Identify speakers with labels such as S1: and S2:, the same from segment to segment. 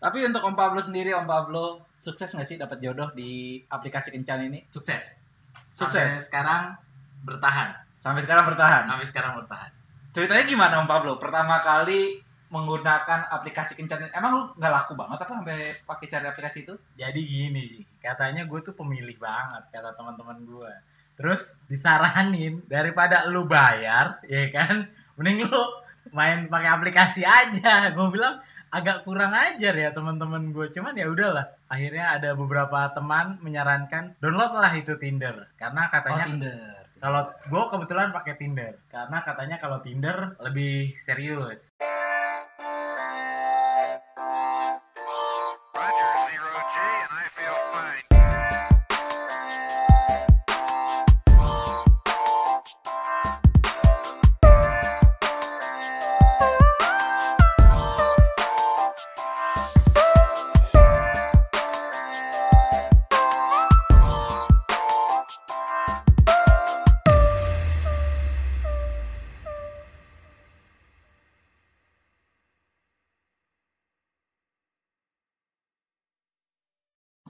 S1: Tapi untuk Om Pablo sendiri, Om Pablo sukses nggak sih dapat jodoh di aplikasi kencan ini?
S2: Sukses.
S1: Sukses.
S2: Sampai sekarang bertahan.
S1: Sampai sekarang bertahan.
S2: Sampai sekarang bertahan.
S1: Ceritanya gimana Om Pablo? Pertama kali menggunakan aplikasi kencan ini, emang lu nggak laku banget apa sampai pakai cari aplikasi itu?
S2: Jadi gini, Ji. katanya gue tuh pemilih banget kata teman-teman gue. Terus disaranin daripada lu bayar, ya kan? Mending lu main pakai aplikasi aja. Gue bilang agak kurang ajar ya teman-teman gue. Cuman ya udahlah. Akhirnya ada beberapa teman menyarankan downloadlah itu Tinder karena katanya
S1: Oh, Tinder.
S2: Kalau gue kebetulan pakai Tinder karena katanya kalau Tinder lebih serius.
S3: Roger, zero G, and I feel fine.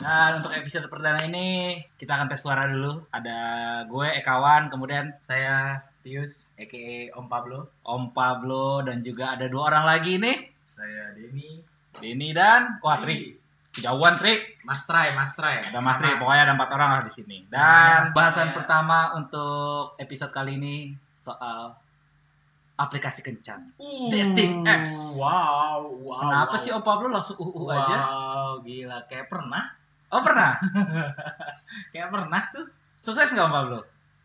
S1: Nah, untuk episode perdana ini kita akan tes suara dulu. Ada gue Ekawan, kemudian
S2: Saya Tius, aka Om Pablo.
S1: Om Pablo dan juga ada dua orang lagi nih,
S2: Saya Denny.
S1: Dini dan wah Tri. Kejauhan Tri.
S2: Mas Trai, Mas Trai.
S1: Ada Mas Tri,
S2: Nama-
S1: pokoknya ada empat orang lah di sini.
S2: Namanya
S1: Dan
S2: Mas
S1: bahasan
S2: Tri, ya.
S1: pertama untuk episode kali ini soal aplikasi kencan.
S2: Uh,
S1: Dating apps.
S2: Wow, wow.
S1: Kenapa
S2: wow.
S1: sih Om Pablo langsung uu
S2: Wow,
S1: aja?
S2: gila. Kayak pernah,
S1: Oh pernah?
S2: kayak pernah tuh.
S1: Sukses nggak Om Pablo?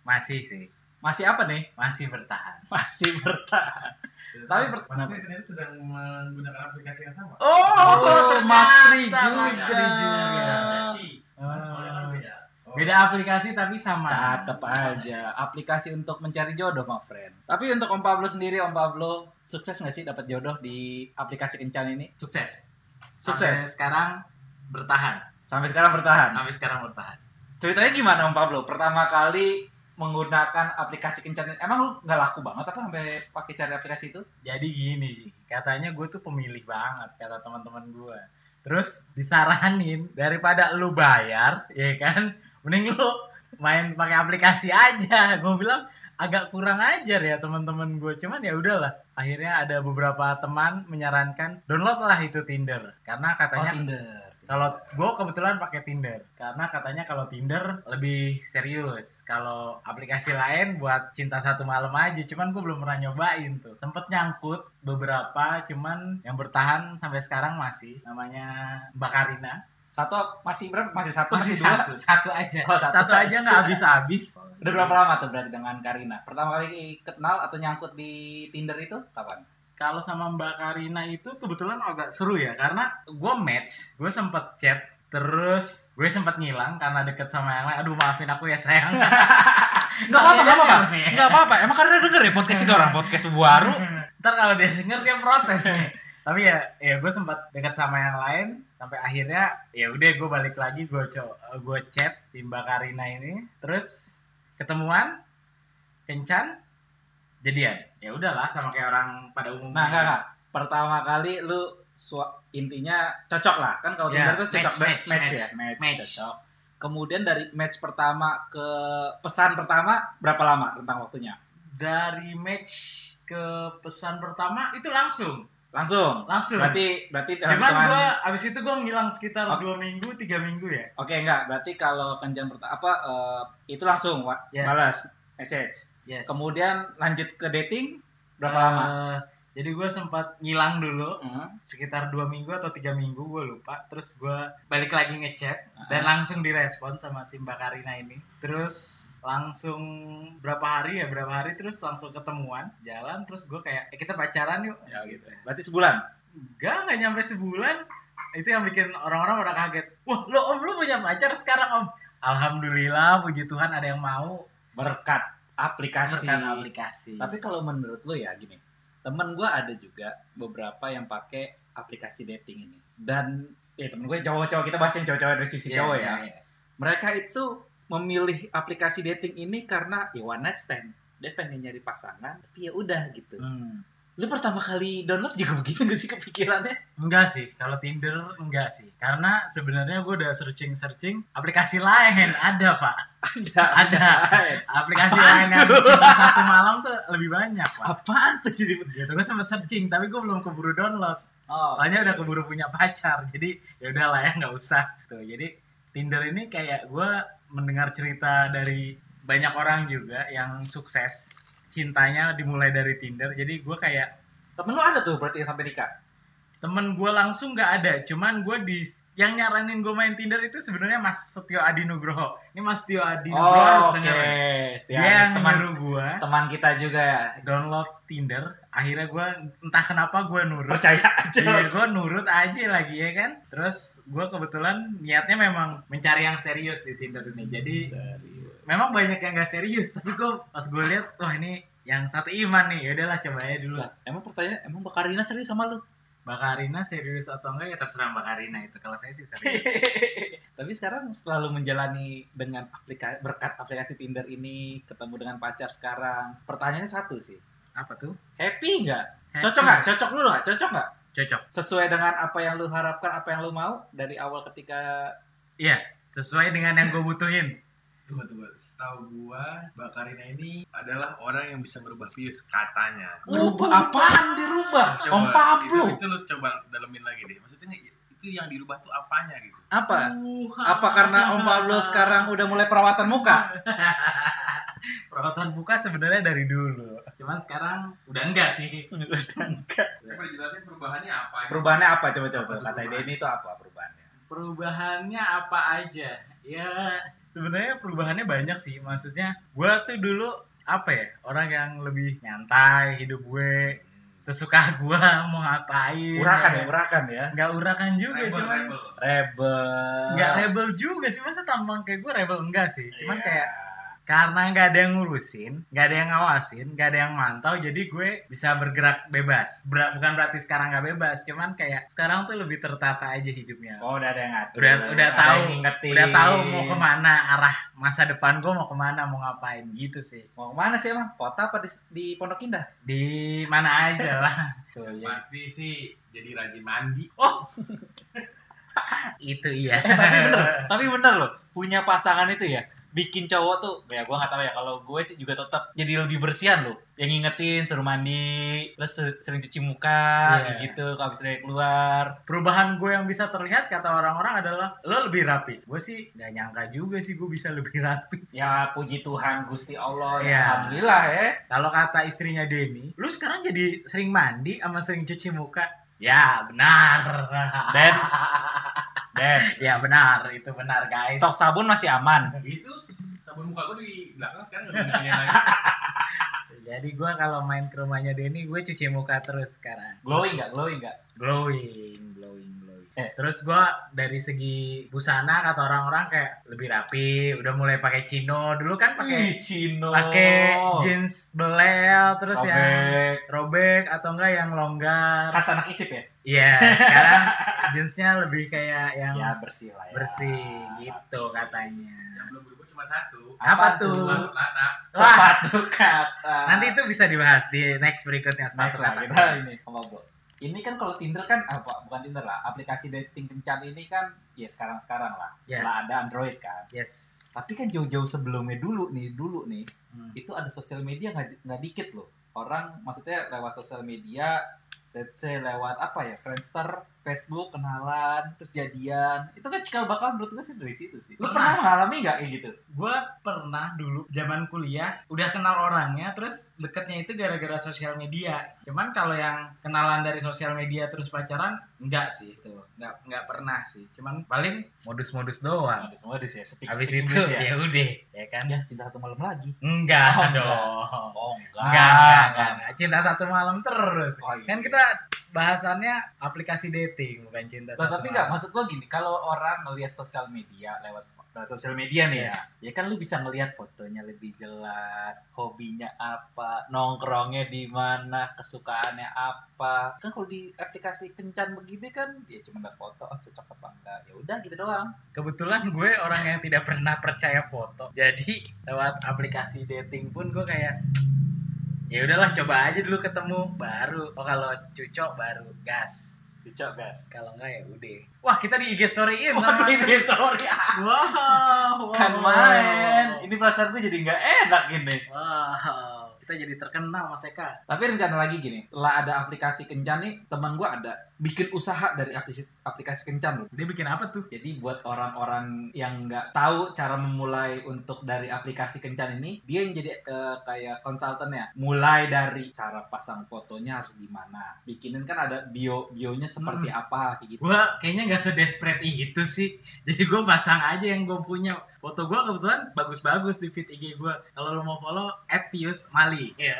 S2: Masih sih,
S1: Masih apa nih?
S2: masih bertahan.
S1: Masih bertahan. Tapi per-
S4: Mas Tri ternyata sedang menggunakan aplikasi yang sama.
S2: Oh, iya.
S1: Mas Tri
S2: ternyata Mas
S1: juga.
S2: Tri juga.
S4: Jadi, boleh kan
S2: Ah.
S4: beda. Oh.
S2: Beda aplikasi tapi sama.
S1: Tetap aja aplikasi untuk mencari jodoh, my friend. Tapi untuk Om Pablo sendiri, Om Pablo sukses nggak sih dapat jodoh di aplikasi kencan ini?
S2: Sukses. Sampai
S1: Sukses.
S2: sekarang bertahan.
S1: Sampai sekarang bertahan.
S2: Sampai sekarang bertahan.
S1: Ceritanya gimana Om Pablo? Pertama kali menggunakan aplikasi kencan ini, emang lu nggak laku banget apa sampai pakai cari aplikasi itu?
S2: Jadi gini, Ji. katanya gue tuh pemilih banget kata teman-teman gue. Terus disaranin daripada lu bayar, ya kan? Mending lu main pakai aplikasi aja. Gue bilang agak kurang ajar ya teman-teman gue. Cuman ya udahlah. Akhirnya ada beberapa teman menyarankan downloadlah itu Tinder karena katanya
S1: Oh, Tinder.
S2: kalau gue kebetulan pakai Tinder karena katanya kalau Tinder lebih serius. Kalau aplikasi lain buat cinta satu malam aja, cuman gue belum pernah nyobain tuh. Sempet nyangkut beberapa, cuman yang bertahan sampai sekarang masih namanya Mbak Karina.
S1: Satu masih berapa? Masih satu,
S2: Masih
S1: masih, dua.
S2: satu, satu aja.
S1: Oh, satu
S2: satu, aja
S1: aja.
S2: nggak habis-habis.
S1: Udah berapa lama tuh berarti dengan Karina? Pertama kali kenal atau nyangkut di Tinder itu kapan?
S2: kalau sama Mbak Karina itu kebetulan agak seru ya karena gue match gue sempet chat terus gue sempet ngilang karena deket sama yang lain aduh maafin aku ya sayang
S1: Gak apa-apa, gak apa-apa. Gak apa-apa. Emang karena denger ya podcast tiga orang, podcast baru.
S2: ntar kalau dia denger dia protes nih. tapi ya ya gue sempat deket sama yang lain sampai akhirnya ya udah gue balik lagi gue gue chat si Mbak Karina ini terus ketemuan kencan jadian ya udahlah sama kayak orang pada umumnya
S1: Nah, enggak, enggak. Pertama kali lu sua- intinya cocok lah. Kan kalau
S2: Ya,
S1: Tinder tuh cocok
S2: match,
S1: banget.
S2: match,
S1: match,
S2: match.
S1: ya, match,
S2: Match.
S1: cocok. Kemudian dari match pertama ke pesan pertama berapa lama tentang waktunya?
S2: dari match ke pesan pertama itu langsung
S1: Langsung.
S2: langsung
S1: Berarti berarti dalam
S2: cuman
S1: hitungan-
S2: gue abis itu gue ngilang sekitar
S1: Oke.
S2: dua minggu tiga minggu ya
S1: Oke, enggak. Berarti kalau kencan pertama apa eh, itu langsung wa-
S2: Yes.
S1: balas message.
S2: yes.
S1: Kemudian lanjut ke dating berapa
S2: Eh,
S1: lama?
S2: jadi gue sempat ngilang dulu
S1: Hmm.
S2: sekitar dua minggu atau tiga minggu gue lupa terus gue balik lagi ngechat
S1: Ah.
S2: dan langsung direspon sama si mbak Karina ini terus langsung berapa hari ya berapa hari terus langsung ketemuan jalan terus gue kayak eh, kita pacaran yuk
S1: Ya gitu. Berarti sebulan.
S2: Enggak, nggak nyampe sebulan. Itu yang bikin orang-orang pada kaget. Wah, lo om lu punya pacar sekarang om. Alhamdulillah, puji Tuhan ada yang mau
S1: Berkat aplikasi.
S2: Berkat aplikasi.
S1: Tapi kalau menurut lu ya gini, temen gue ada juga beberapa yang pakai aplikasi dating ini. Dan ya temen gue cowok-cowok kita bahas yang cowok-cowok dari sisi
S2: Iya,
S1: cowok
S2: iya,
S1: ya.
S2: iya.
S1: Mereka itu memilih aplikasi dating ini karena ya one night stand. Dia pengen nyari pasangan, tapi ya udah gitu.
S2: Hmm.
S1: Lu pertama kali download juga begitu gak sih kepikirannya?
S2: Enggak sih, kalau Tinder enggak sih. Karena sebenarnya gue udah searching-searching aplikasi lain ada, Pak.
S1: Ada.
S2: Ada.
S1: Apaan?
S2: Aplikasi
S1: Apaan
S2: lain yang
S1: tuh?
S2: cuma satu malam tuh lebih banyak, Pak.
S1: Apaan tuh jadi
S2: Gitu, gue sempet searching, tapi gue belum keburu download.
S1: Oh,
S2: Soalnya udah keburu punya pacar, jadi ya udahlah ya nggak usah. Tuh, jadi Tinder ini kayak gue mendengar cerita dari banyak orang juga yang sukses cintanya dimulai dari Tinder. Jadi gue kayak
S1: temen lu ada tuh berarti yang sampai nikah?
S2: temen gue langsung nggak ada cuman gue di yang nyaranin gue main Tinder itu sebenarnya Mas Setio Adi Nugroho ini Mas Setio Adi Nugroho harus
S1: Oh,
S2: dengerin.
S1: Ya,
S2: Iya, oh, dia yang
S1: teman
S2: nyuruh gue
S1: teman kita juga ya.
S2: download Tinder akhirnya gue entah kenapa gue nurut
S1: Percaya aja.
S2: Iya, gue nurut aja lagi ya kan. Terus gue kebetulan niatnya memang mencari yang serius di Tinder ini. Jadi
S1: Serius.
S2: memang banyak yang gak serius, tapi gue pas gue lihat, wah ini yang satu iman nih. Ya udahlah coba aja dulu.
S1: Lah, emang pertanyaan emang Mbak Karina serius sama lu?
S2: Mbak Karina serius atau enggak ya terserah Mbak Karina itu. Kalau saya sih serius.
S1: Tapi sekarang selalu menjalani dengan aplikasi berkat aplikasi Tinder ini ketemu dengan pacar sekarang. Pertanyaannya satu sih.
S2: Apa tuh?
S1: Happy nggak?
S2: Happy.
S1: Cocok nggak? Cocok lu nggak? Cocok nggak?
S2: Cocok.
S1: Sesuai dengan apa yang lu harapkan, apa yang lu mau dari awal ketika
S2: Iya, sesuai dengan yang gue butuhin.
S4: Tunggu tunggu. Setahu gua, Mbak Karina ini adalah orang yang bisa merubah pius katanya.
S1: berubah apaan dirubah? Om Pablo.
S4: Itu, itu lu coba dalemin lagi deh. Maksudnya itu yang dirubah tuh apanya gitu?
S1: Apa? Apa karena Om Pablo sekarang udah mulai perawatan muka?
S2: Perawatan muka sebenarnya dari dulu. Cuman sekarang udah enggak sih.
S1: udah enggak.
S4: Coba jelasin perubahannya apa? gitu.
S1: Perubahannya apa coba coba tuh,
S4: Apa
S1: kata
S4: perubahan?
S1: ini itu apa perubahannya?
S2: Perubahannya apa aja? Ya, sebenarnya perubahannya banyak sih. Maksudnya, gua tuh dulu apa ya? Orang yang lebih nyantai hidup gue. Sesuka gua mau ngapain.
S1: Urakan ya, urakan ya.
S2: Enggak urakan juga,
S4: Rebel,
S2: cuman
S4: rebel.
S1: Rebel.
S2: enggak rebel juga sih. Masa tampang kayak gue rebel enggak sih? Cuman
S1: Iya.
S2: kayak karena nggak ada yang ngurusin, nggak ada yang ngawasin, nggak ada yang mantau, jadi gue bisa bergerak bebas. Ber- bukan berarti sekarang nggak bebas, cuman kayak sekarang tuh lebih tertata aja hidupnya.
S1: Oh, udah ada yang ngatur.
S2: udah udah
S1: ada
S2: tahu,
S1: yang ngingetin.
S2: udah tahu mau kemana arah masa depan gue mau kemana, mau ngapain gitu sih.
S1: Mau kemana sih emang? Kota apa di, di Pondok Indah?
S2: Di mana aja lah. Tuh,
S4: Yang
S2: ya.
S4: Pasti sih jadi rajin mandi.
S2: Oh, itu
S1: Eh,
S2: iya.
S1: tapi bener, tapi bener loh. Punya pasangan itu ya, bikin cowok tuh, ya gue nggak tahu ya. Kalau gue sih juga tetap jadi lebih bersihan loh. Yang ngingetin, suruh mandi, terus se- sering cuci muka,
S2: Iya.
S1: kayak gitu. Kalau habis dari keluar,
S2: Perubahan gue yang bisa terlihat kata orang-orang adalah lo lebih rapi. Gue sih nggak nyangka juga sih gue bisa lebih rapi.
S1: ya puji Tuhan, gusti Allah, ya
S2: Iya.
S1: alhamdulillah ya.
S2: Kalau kata istrinya Denny, lu sekarang jadi sering mandi sama sering cuci muka. Ya benar.
S1: Dan, dan
S2: ya benar, itu benar guys.
S1: stok sabun masih aman.
S4: Itu Nah, gitu. sabun muka gua di belakang sekarang udah punya lagi.
S2: Jadi gua kalau main ke rumahnya Denny, gue cuci muka terus sekarang.
S1: Glowing nggak? Glowing nggak?
S2: Glowing, glowing, glowing.
S1: Eh.
S2: Terus gua dari segi busana kata orang-orang kayak lebih rapi, udah mulai pakai chino. Dulu
S1: Ih,
S2: kan pakai
S1: Cino.
S2: pakai jeans belel terus ya.
S1: Robek.
S2: yang robek atau enggak yang longgar.
S1: khas anak isip ya?
S2: Iya, sekarang jeansnya lebih kayak yang
S1: Ya bersih lah ya.
S2: bersih gitu katanya.
S4: Yang belum berubah cuma satu.
S2: Apa,
S1: Apa
S2: tuh?
S1: tuh?
S4: Sepatu kata.
S2: Wah,
S1: Sepatu kata.
S2: nanti itu bisa dibahas di next berikutnya
S1: Next
S2: sepatu
S1: lah
S2: kata.
S1: kita Nah, ini sama bro. Ini kan kalau Tinder kan apa? Bukan Tinder lah. Aplikasi dating kencan ini kan ya sekarang-sekarang lah.
S2: Ya.
S1: Setelah ada Android kan.
S2: Yes.
S1: Tapi kan jauh-jauh sebelumnya dulu nih, dulu nih
S2: Hmm.
S1: itu ada sosial media nggak nggak dikit loh. Orang maksudnya lewat sosial media let's say lewat apa ya Friendster, Facebook, kenalan, terus jadian. Itu kan cikal bakal menurut gue sih dari situ sih. Lu pernah
S2: Pernah.
S1: mengalami nggak kayak gitu?
S2: Gua pernah dulu zaman kuliah udah kenal orangnya, terus deketnya itu gara-gara sosial media. Cuman kalau yang kenalan dari sosial media terus pacaran, enggak sih itu, enggak enggak pernah sih. Cuman paling modus-modus doang.
S1: Habis modus ya, speak,
S2: Habis
S1: speak
S2: itu
S1: English
S2: ya udah, ya kan?
S1: Ya, cinta satu malam lagi.
S2: Enggak
S1: Oh, enggak.
S2: dong.
S1: Oh enggak.
S2: Enggak, enggak, enggak, enggak. Cinta satu malam terus.
S1: Oh, iya.
S2: Kan kita bahasannya aplikasi dating, bukan cinta
S1: Loh,
S2: satu
S1: Nah, tapi enggak,
S2: malam.
S1: maksud gua gini, kalau orang ngelihat sosial media lewat lewat sosial media nih
S2: Yes.
S1: ya. Ya kan lu bisa ngelihat fotonya lebih jelas, hobinya apa, nongkrongnya di mana, kesukaannya apa. Kan kalau di aplikasi kencan begini kan ya cuma lihat foto, oh, cocok apa enggak. Ya udah gitu doang.
S2: Kebetulan gue orang yang tidak pernah percaya foto. Jadi lewat aplikasi dating pun gue kayak ya udahlah coba aja dulu ketemu baru oh kalau cucok baru gas
S1: Cucok guys.
S2: kalau enggak ya udah wah kita di IG storyin sama
S1: Waduh ini story
S2: wow, wow
S1: kan main. Ini perasaan gue jadi nggak enak ini.
S2: wow kita jadi terkenal mas Eka
S1: Tapi rencana lagi gini, setelah ada aplikasi kencan nih, teman gue ada bikin usaha dari aplikasi, aplikasi kencan loh.
S2: dia bikin apa tuh
S1: Jadi buat orang-orang yang nggak tahu cara memulai untuk dari aplikasi kencan ini, dia yang jadi eh, kayak konsultannya. Mulai dari cara pasang fotonya harus gimana, bikinin kan ada bio bionya seperti apa kayak gitu.
S2: gua kayaknya nggak sedesperate itu sih jadi gua pasang aja yang gua punya foto gua kebetulan bagus-bagus di feed IG gua kalau lo mau follow @pius mali ya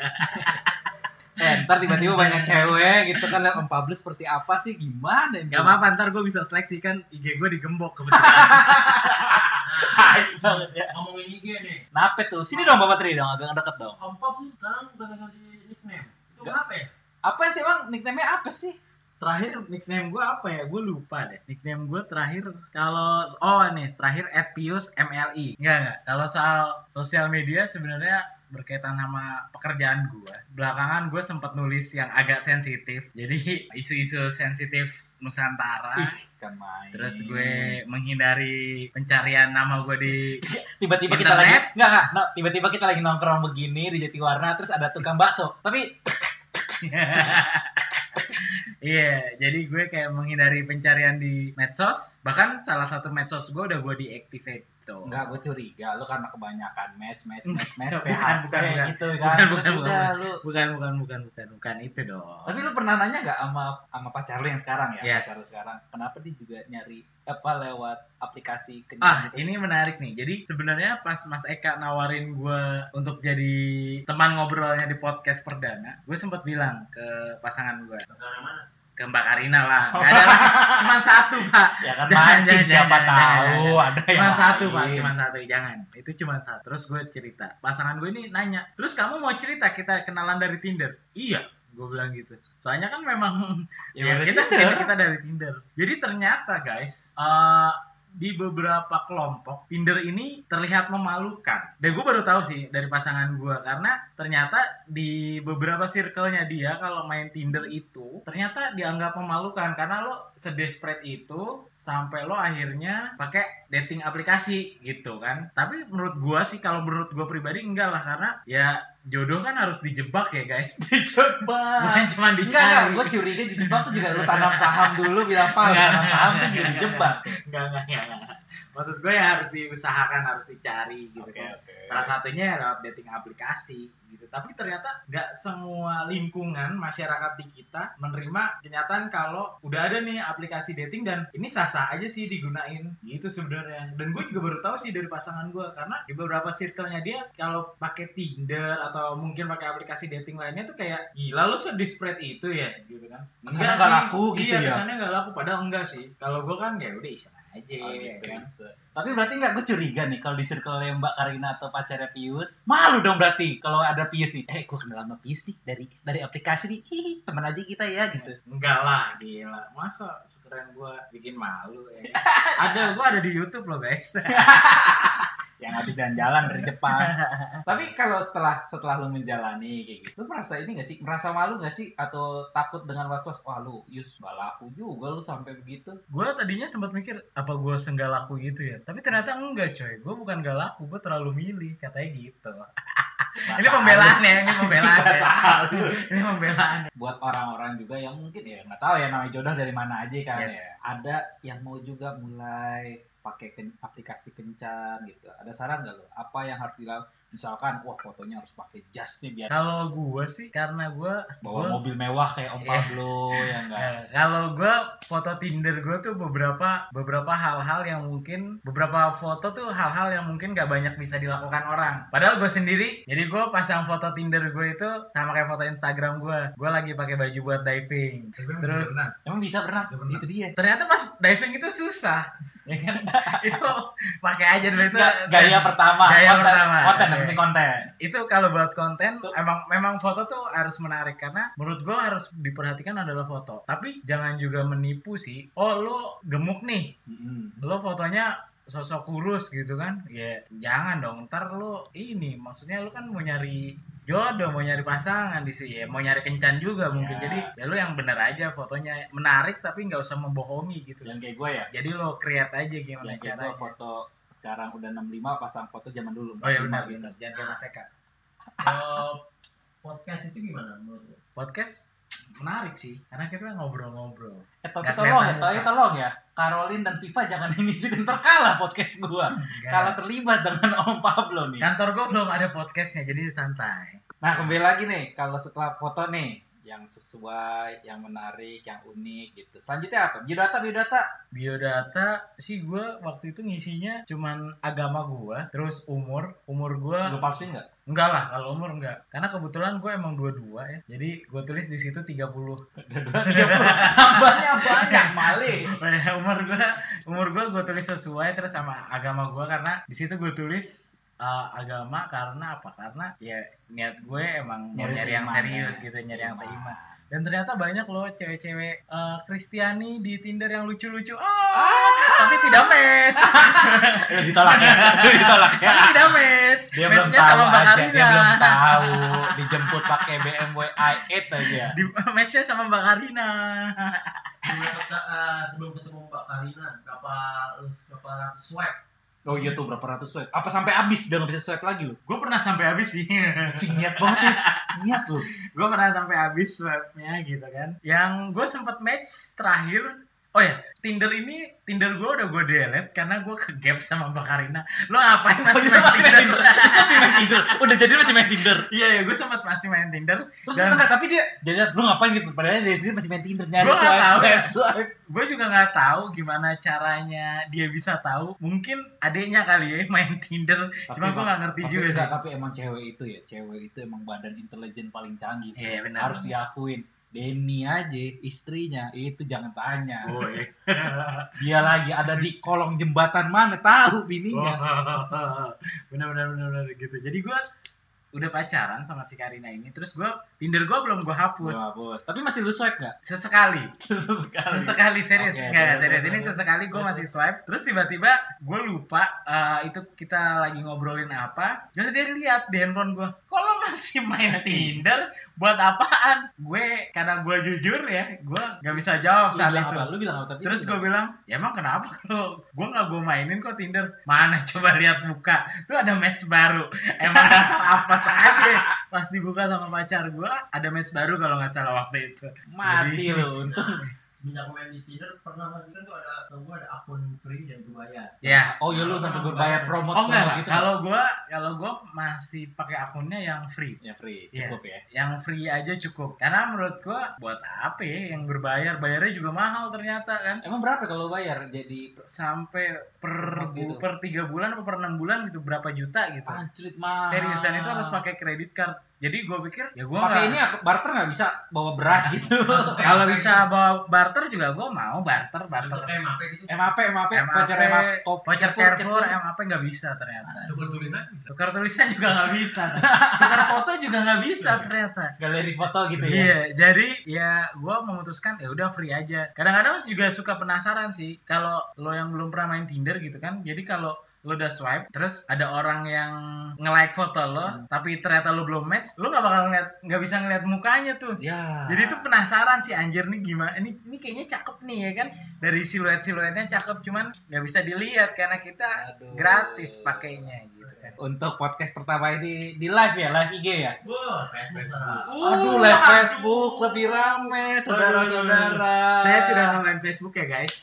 S1: Eh, ntar tiba-tiba banyak cewek gitu kan lihat publish seperti apa sih gimana ini?
S2: Gak apa-apa ntar gue bisa seleksi kan IG gue digembok kebetulan
S1: Hai banget ya.
S4: Ngomongin IG nih.
S1: Kenapa tuh? Sini dong Bapak Tri dong, agak deket dong.
S4: Om Pop sih sekarang udah ganti nickname. Itu
S1: Gak-
S4: kenapa ya?
S1: Apa sih bang? Nickname-nya apa sih?
S2: Terakhir nickname gue apa ya? Gue lupa deh Nickname gue terakhir Kalau Oh nih terakhir @pius MLI Enggak enggak Kalau soal sosial media sebenarnya berkaitan sama pekerjaan gue Belakangan gue sempat nulis yang agak sensitif Jadi isu-isu sensitif Nusantara
S1: kan main.
S2: Terus gue menghindari pencarian nama gue di
S1: tiba-tiba kita lagi
S2: Internet?
S1: enggak enggak, enggak. tiba-tiba kita lagi nongkrong begini di Jatiwarna terus ada tukang bakso. Tapi
S2: Iya, jadi gue kayak menghindari pencarian di medsos. Bahkan salah satu medsos gue udah gue deactivate tuh.
S1: enggak gue curiga lu karena kebanyakan match match match match
S2: Bukan,
S1: PHP
S2: bukan, bukan.
S1: gitu
S2: Bukan,
S1: kan.
S2: bukan,
S1: Terus
S2: bukan,
S1: udah lu
S2: Bukan, bukan, bukan, bukan, bukan itu dong.
S1: tapi lu pernah nanya nggak sama sama pacar lu yang sekarang ya?
S2: Yes.
S1: Pacar lu sekarang. Kenapa dia juga nyari apa lewat aplikasi kencan
S2: Ah,
S1: gitu?
S2: ini menarik nih. Jadi sebenarnya pas Mas Eka nawarin gue untuk jadi teman ngobrolnya di podcast perdana, gue sempat bilang ke pasangan gue,
S4: Negara mana?
S2: ke Mbak Karina lah. Gak ada, lah. cuman satu pak.
S1: Ya kan
S2: Jangan,
S1: mancing
S2: jangan,
S1: siapa
S2: jangan,
S1: tahu
S2: jangan,
S1: ada yang
S2: Cuman satu
S1: lain.
S2: pak, cuman satu, jangan. Itu cuman satu. Terus gue cerita, pasangan gue ini nanya, terus kamu mau cerita kita kenalan dari Tinder? Iya, gue bilang gitu. Soalnya kan memang
S1: Ya,
S2: ya,
S1: berarti
S2: kita,
S1: ya.
S2: kita kita dari Tinder. Jadi ternyata guys, eh, di beberapa kelompok Tinder ini terlihat memalukan. Dan gue baru tahu sih dari pasangan gue karena ternyata di beberapa circle-nya dia kalau main Tinder itu ternyata dianggap memalukan karena lo sedesperate itu sampai lo akhirnya pakai dating aplikasi gitu kan. Tapi menurut gue sih kalau menurut gue pribadi enggak lah karena ya jodoh kan harus dijebak ya guys.
S1: Dijebak.
S2: Bukan cuma
S1: Enggak, enggak,
S2: dicari.
S1: gue curiga dijebak tuh juga lu tanam saham dulu bilang pak,
S2: Enggak,
S1: tanam
S2: enggak,
S1: saham tuh
S2: enggak,
S1: juga
S2: enggak,
S1: dijebak.
S2: Enggak, enggak, enggak, enggak. Maksud gue ya harus diusahakan, harus dicari gitu kan. Salah satunya ya lewat dating aplikasi gitu. Tapi ternyata nggak semua lingkungan masyarakat di kita menerima kenyataan kalau udah ada nih aplikasi dating dan ini sah-sah aja sih digunain gitu sebenarnya. Dan gue juga baru tahu sih dari pasangan gue karena di beberapa circle-nya dia kalau pakai Tinder atau mungkin pakai aplikasi dating lainnya tuh kayak gila lu sedispread itu ya gitu kan.
S1: Kesannya
S2: Enggak
S1: nggak
S2: sih.
S1: laku gitu
S2: iya,
S1: ya.
S2: kesannya nggak laku padahal enggak sih. Kalau gue kan ya udah iseng aja
S1: Oh,
S2: ya
S1: gitu.
S2: kan.
S1: Tapi berarti nggak gue curiga nih kalau di circle yang Mbak Karina atau pacarnya Pius. Malu dong berarti kalau ada Pius nih. Eh, gue kenal sama Pius nih dari dari aplikasi nih. Hihi, teman aja kita ya gitu.
S2: Enggak lah, gila. Masa sekeren gue bikin malu ya. ada, gue ada di Youtube loh guys.
S1: Yang habis jalan-jalan dari Jepang. Tapi kalau setelah setelah lu menjalani kayak gitu, lu merasa ini gak sih? Merasa malu gak sih? Atau takut dengan was-was? Wah lu, Yus, gak laku juga lu sampai begitu.
S2: gue tadinya sempat mikir, apa gue senggak laku gitu ya? Tapi ternyata enggak coy. Gue bukan gak laku, gue terlalu milih. Katanya gitu. ini
S1: Bahasa
S2: pembelaan ya, ini
S1: halus.
S2: pembelaan ya.
S1: Bahasa halus.
S2: ini pembelaan. ya.
S1: buat orang-orang juga yang mungkin ya nggak tahu ya namanya jodoh dari mana aja kan
S2: Yes.
S1: ya. Ada yang mau juga mulai pakai ken- aplikasi kencan gitu. Ada saran nggak lo? Apa yang harus dilakukan? Misalkan, wah fotonya harus pakai jas nih biar
S2: Kalau gue sih, karena gue...
S1: bawa mobil mewah kayak Om
S2: Iya.
S1: Pablo ya enggak.
S2: Nah, kalau gue foto Tinder gue tuh beberapa beberapa hal-hal yang mungkin beberapa foto tuh hal-hal yang mungkin gak banyak bisa dilakukan orang. Padahal gue sendiri, jadi gue pasang foto Tinder gue itu sama kayak foto Instagram gue. Gue lagi pakai baju buat diving.
S4: Tapi emang
S2: Terus-
S4: beneran.
S1: Emang bisa berenang?
S4: Bisa berenang.
S1: Itu dia.
S2: Ternyata pas diving itu susah, ya kan? itu pakai aja dulu itu
S1: Nggak- gaya pertama.
S2: Gaya
S1: konten,
S2: pertama. Iya. Eh,
S1: Konten, yang
S2: Oke.
S1: penting konten.
S2: itu kalau buat konten
S1: Tuh.
S2: emang memang foto tuh harus menarik karena menurut gue harus diperhatikan adalah foto tapi jangan juga menipu sih oh lo gemuk nih
S1: Mm-mm.
S2: lo fotonya sosok kurus gitu kan ya jangan dong ntar lu ini maksudnya lu kan mau nyari jodoh mau nyari pasangan di sini ya mau nyari kencan juga mungkin
S1: Ya.
S2: jadi ya lu yang bener aja fotonya menarik tapi nggak usah membohongi gitu
S1: Yang kayak gue ya.
S2: jadi lo create aja gimana
S1: Yang kayak gue
S2: caranya
S1: foto sekarang udah 65 pasang foto zaman dulu.
S2: ya.
S1: 45
S2: oh ya benar Eh,
S1: gitu.
S2: benar jangan kayak Mas Eka
S5: Kalau podcast itu gimana menurut lo?
S2: podcast menarik sih karena kita ngobrol-ngobrol
S1: Eh tapi
S2: Nggak
S1: tolong ya,
S2: kelihatan
S1: tapi
S2: muka.
S1: tolong ya. Caroline dan Viva jangan ini juga ntar kalah podcast gue. Kalau terlibat dengan Om Pablo nih.
S2: Iya. kantor gue belum ada podcastnya jadi santai
S1: Nah kembali lagi nih, kalau setelah foto nih, yang sesuai, yang menarik, yang unik gitu. Selanjutnya apa? Biodata, biodata.
S2: biodata sih gue waktu itu ngisinya cuman agama gue terus umur umur gue
S1: Lu palsuin nggak?
S2: enggak lah kalau umur enggak karena kebetulan gue emang dua-dua ya jadi gue tulis di situ 30
S1: Tambahnya Ya, banyak, malih.
S2: umur gue umur gue gue tulis sesuai terus sama agama gue karena di situ gue tulis eh, agama karena apa karena ya niat gue emang mau nyari yang
S1: seiman,
S2: serius
S1: ya.
S2: gitu nyari yang seiman
S1: Seiman.
S2: dan ternyata banyak loh cewek-cewek eh, Kristiani di Tinder yang lucu-lucu oh,
S1: Ah!
S2: tapi tidak match
S1: Lu ditolak ya? Lu ditolak ya?
S2: tapi tidak match
S1: Dia belum
S2: matchnya
S1: tahu
S2: sama Mbak
S1: aja, dia
S2: Karina
S1: belum tahu. Dijemput pakai BMW i8 E aja.
S2: di matchnya sama Mbak Karina
S5: Sebelum, keta- eh, sebelum ketemu Mbak Karina, berapa eh, berapa ratus swipe?
S1: Oh iya tuh berapa ratus swipe? Apa sampai habis udah nggak bisa swipe lagi lu?
S2: gue pernah sampai habis sih
S1: Cing niat banget ya. Niat lu.
S2: gue pernah sampai habis swipe-nya gitu kan yang gue sempet match terakhir oh ya Tinder ini Tinder gue udah gue delete karena gue ke gap sama Mbak Karina lo ngapain
S1: Oh,
S2: masih
S1: iya,
S2: main
S1: masih main
S2: Tinder
S1: Tinder. Masih main Tinder. Udah jadi masih main Tinder.
S2: iya ya gue sempet masih main Tinder
S1: Terus
S2: dan
S1: ternyata nggak, tapi dia jadi lu ngapain gitu? Padahal dia sendiri masih main Tinder nyari
S2: Gua nggak
S1: swipe,
S2: tahu ya.
S1: swipe, swipe.
S2: gue juga nggak tahu gimana caranya dia bisa tahu mungkin adiknya kali ya main Tinder cuma gue nggak ngerti
S1: tapi
S2: juga
S1: enggak,
S2: sih
S1: tapi emang cewek itu ya, cewek itu emang badan intelijen paling canggih.
S2: Iya, benar.
S1: Harus diakuin. Denny aja istrinya itu jangan tanya.
S2: Boy.
S1: Dia lagi ada di kolong jembatan mana tahu bininya.
S2: bener bener bener bener gitu jadi gue udah pacaran sama si Karina ini terus gue Tinder gue belum gue
S1: Wah,
S2: hapus
S1: bos. Tapi masih lu swipe nggak?
S2: sesekali
S1: Sesekali.
S2: sesekali serius
S1: Oke,
S2: enggak
S1: terus,
S2: serius
S1: terus,
S2: ini
S1: terus.
S2: sesekali gue masih swipe terus tiba-tiba gue lupa eh, itu kita lagi ngobrolin apa terus dia lihat di handphone gue kok lo masih main Tinder buat apaan gue karena gue jujur ya gue nggak bisa
S1: Lu
S2: jawab saat
S1: bilang
S2: itu
S1: apa? Lu bilang apa? Tapi lu
S2: Terus gue bilang, ya emang kenapa lo? Gue gak gue mainin kok Tinder. Mana coba lihat muka. Tuh ada match baru. Emang dasar apa saja. Pas dibuka sama pacar gue, ada match baru kalau nggak salah waktu itu.
S1: mati
S2: Jadi-
S1: lu untung.
S5: Semenjak aku main di Tinder pernah masih kan tuh ada, gue ada akun free yang gue bayar.
S2: Ya.
S1: Oh iya lu sampai berbayar promote
S2: Oh enggak,
S1: gitu.
S2: kalau gue kalau gue masih pakai akunnya yang free.
S1: ya free
S2: Iya.
S1: cukup ya.
S2: Yang free aja cukup. Karena menurut gue buat apa ya yang berbayar? Bayarnya juga mahal ternyata kan.
S1: Emang berapa kalau bayar jadi
S2: Sampai per,
S1: Gitu.
S2: bu- per 3 bulan atau per 6 bulan gitu berapa juta gitu.
S1: anjrit mah.
S2: serius dan itu harus pakai kredit card jadi gue pikir ya gue
S1: pakai ini apa? barter nggak bisa bawa beras
S2: Nah.
S1: gitu.
S2: kalau bisa bawa barter juga gue mau barter
S5: Bentuk
S2: barter
S5: kayak MAP gitu.
S1: MAP MAP
S2: MAP,
S1: voucher MAP top
S2: voucher Carrefour MAP nggak bisa ternyata
S4: gitu? Tukar tulisan bisa.
S2: tukar tulisan juga nggak bisa tukar foto juga nggak bisa ternyata
S1: galeri foto Iya. gitu
S2: Iya,
S1: ya.
S2: jadi ya gue memutuskan ya udah free aja. Kadang-kadang juga suka penasaran sih kalau lo yang belum pernah main Tinder gitu kan. Jadi kalau lo udah swipe terus ada orang yang nge-like foto lo
S1: Hmm.
S2: tapi ternyata lo belum match, lo nggak bakal ngeliat nggak bisa ngeliat mukanya tuh.
S1: Ya.
S2: Jadi itu penasaran sih anjir nih gimana ini ini kayaknya cakep nih ya kan dari siluet siluetnya cakep cuman nggak bisa dilihat karena kita
S1: Aduh.
S2: gratis pakainya gitu kan.
S1: untuk podcast pertama ini di live ya, live IG ya.
S5: Wah, Facebook. Nah,
S2: Uh,
S1: Aduh, live Facebook lebih rame, saudara-saudara.
S2: Saya sudah main Facebook ya guys.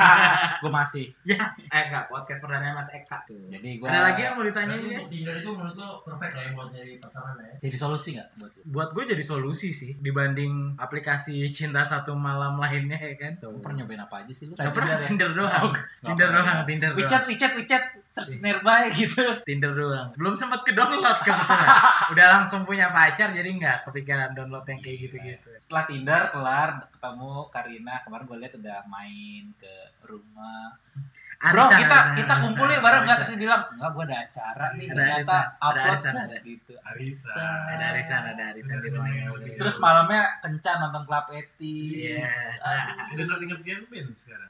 S1: gue masih.
S2: ya, eh enggak podcast perdana Mas Eka tuh.
S1: Jadi gue.
S2: Ada lagi yang mau ditanyain
S5: Berarti
S2: guys?
S5: Tinder itu menurut lo perfect lah ya buat nyari pasangan lah ya.
S1: jadi solusi nggak buat lu?
S2: Buat gue jadi solusi sih dibanding aplikasi cinta satu malam lainnya ya kan. Tuh.
S1: Lu pernah nyobain apa aja sih lu?
S2: Gak
S1: Tinder
S2: pernah
S1: ya?
S2: Tinder doang.
S1: Nggak
S2: Tinder
S1: pernah.
S2: doang, Tinder doang.
S1: WeChat, WeChat, WeChat, search nearby gitu.
S2: Tinder doang. Belum sempat ke download kebetulan. Udah langsung punya pacar jadi nggak kepikiran download yang kayak gitu-gitu.
S1: Setelah Tinder kelar ketemu Karina kemarin gue lihat udah main ke rumah. Bro,
S2: Arisan,
S1: kita
S2: arisan,
S1: kita
S2: arisan,
S1: kumpul nih bareng nggak
S2: arisan.
S1: terus dia bilang nggak gue ada acara nih
S2: Ada
S1: ternyata
S2: arisan, ada
S1: upload
S2: arisan,
S1: just
S2: ada.
S1: gitu.
S4: Arisa.
S1: Arisan.
S2: Ada arisan, ada arisan di
S4: Sudah
S2: rumahnya.
S4: lebih dari-
S1: Terus malamnya kencan nonton klub etis.
S2: Yes.
S1: Aduh.
S4: Ada ngerti-ngertian band sekarang.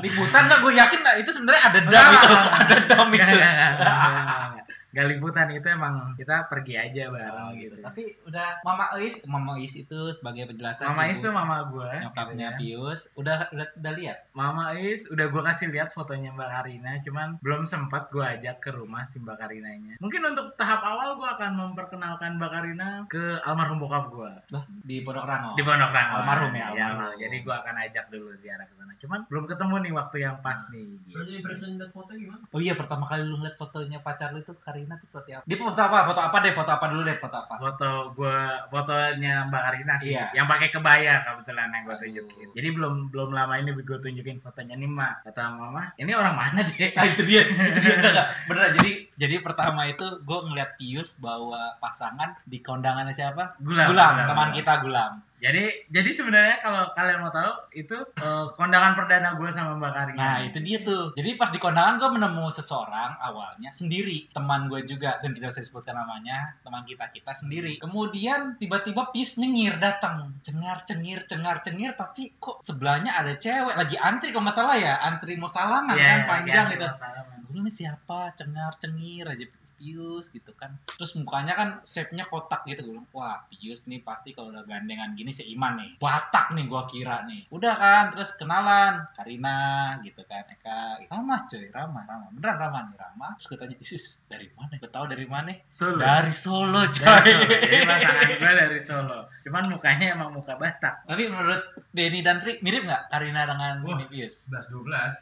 S1: Liputan nggak gue yakin nah, itu sebenarnya ada dam itu, ada dam itu.
S2: Nggak, nggak, nggak, nggak, nggak, nggak. nah, Nggak liputan itu emang kita pergi aja
S1: Oh,
S2: bareng gitu.
S1: gitu. Tapi udah Mama Is, Mama Is itu sebagai penjelasan
S2: Mama
S1: ibu
S2: Is tuh mama gue.
S1: nyokapnya Pius udah udah, udah lihat
S2: Mama Is udah gue kasih lihat fotonya Mbak Karina, cuman belum sempat gue ajak ke rumah si Mbak Karinanya. Mungkin untuk tahap awal gue akan memperkenalkan Mbak Karina ke almarhum bokap gue
S1: lah Oh, di Pondok Rango.
S2: di Pondok Rangon.
S1: Almarhum ya, almarhum.
S2: almarhum. Jadi gue akan ajak dulu ziarah ke sana. Cuman belum ketemu nih waktu yang pas
S1: Nah.
S2: nih. gitu.
S5: Berarti impression dan foto gimana?
S1: Oh iya pertama kali lu ngeliat fotonya pacar lu itu Karina tuh seperti apa? Dia foto apa? Foto apa deh? Foto apa dulu deh? Foto apa?
S2: Foto gue fotonya Mbak Karina sih,
S1: Iya.
S2: yang pakai kebaya kebetulan yang gue tunjukin.
S1: Aduh.
S2: Jadi belum belum lama ini gue tunjukin fotonya nih Mbak. Kata Mama, ini orang mana deh?
S1: Ah itu dia, itu dia enggak, enggak. bener. Jadi jadi pertama itu gue ngeliat Pius bawa pasangan di kondangannya siapa?
S2: Gulam,
S1: Gulam, teman kita Gulam.
S2: Jadi jadi sebenarnya kalau kalian mau tahu itu eh, kondangan perdana gue sama Mbak Karina.
S1: Nah itu dia tuh. Jadi pas di kondangan gue menemu seseorang awalnya sendiri, teman gue juga dan tidak usah disebutkan namanya, teman kita kita sendiri. Kemudian tiba-tiba Pius nyengir datang, cengar cengir cengar cengir, tapi kok sebelahnya ada cewek lagi antri kalau masalah ya, antri mau salaman
S2: Iya,
S1: kan
S2: iya,
S1: panjang
S2: iya,
S1: gitu.
S2: salaman.
S1: Gue ini siapa cengar cengir aja Pius gitu kan terus mukanya kan shape nya kotak gitu gue bilang wah Pius nih pasti kalau udah gandengan gini seiman nih Batak nih gua kira nih udah kan terus kenalan Karina gitu kan Eka Ramah coy Ramah Ramah beneran Ramah nih Ramah terus gue tanya Isus dari mana gue tahu dari mana
S2: Solo.
S1: dari Solo coy
S2: Dari Solo. Jadi pasangan gue dari Solo. Cuman mukanya emang muka Batak.
S1: tapi menurut Denny dan Tri mirip nggak Karina dengan
S4: Wah.
S1: Pius
S4: 11 12.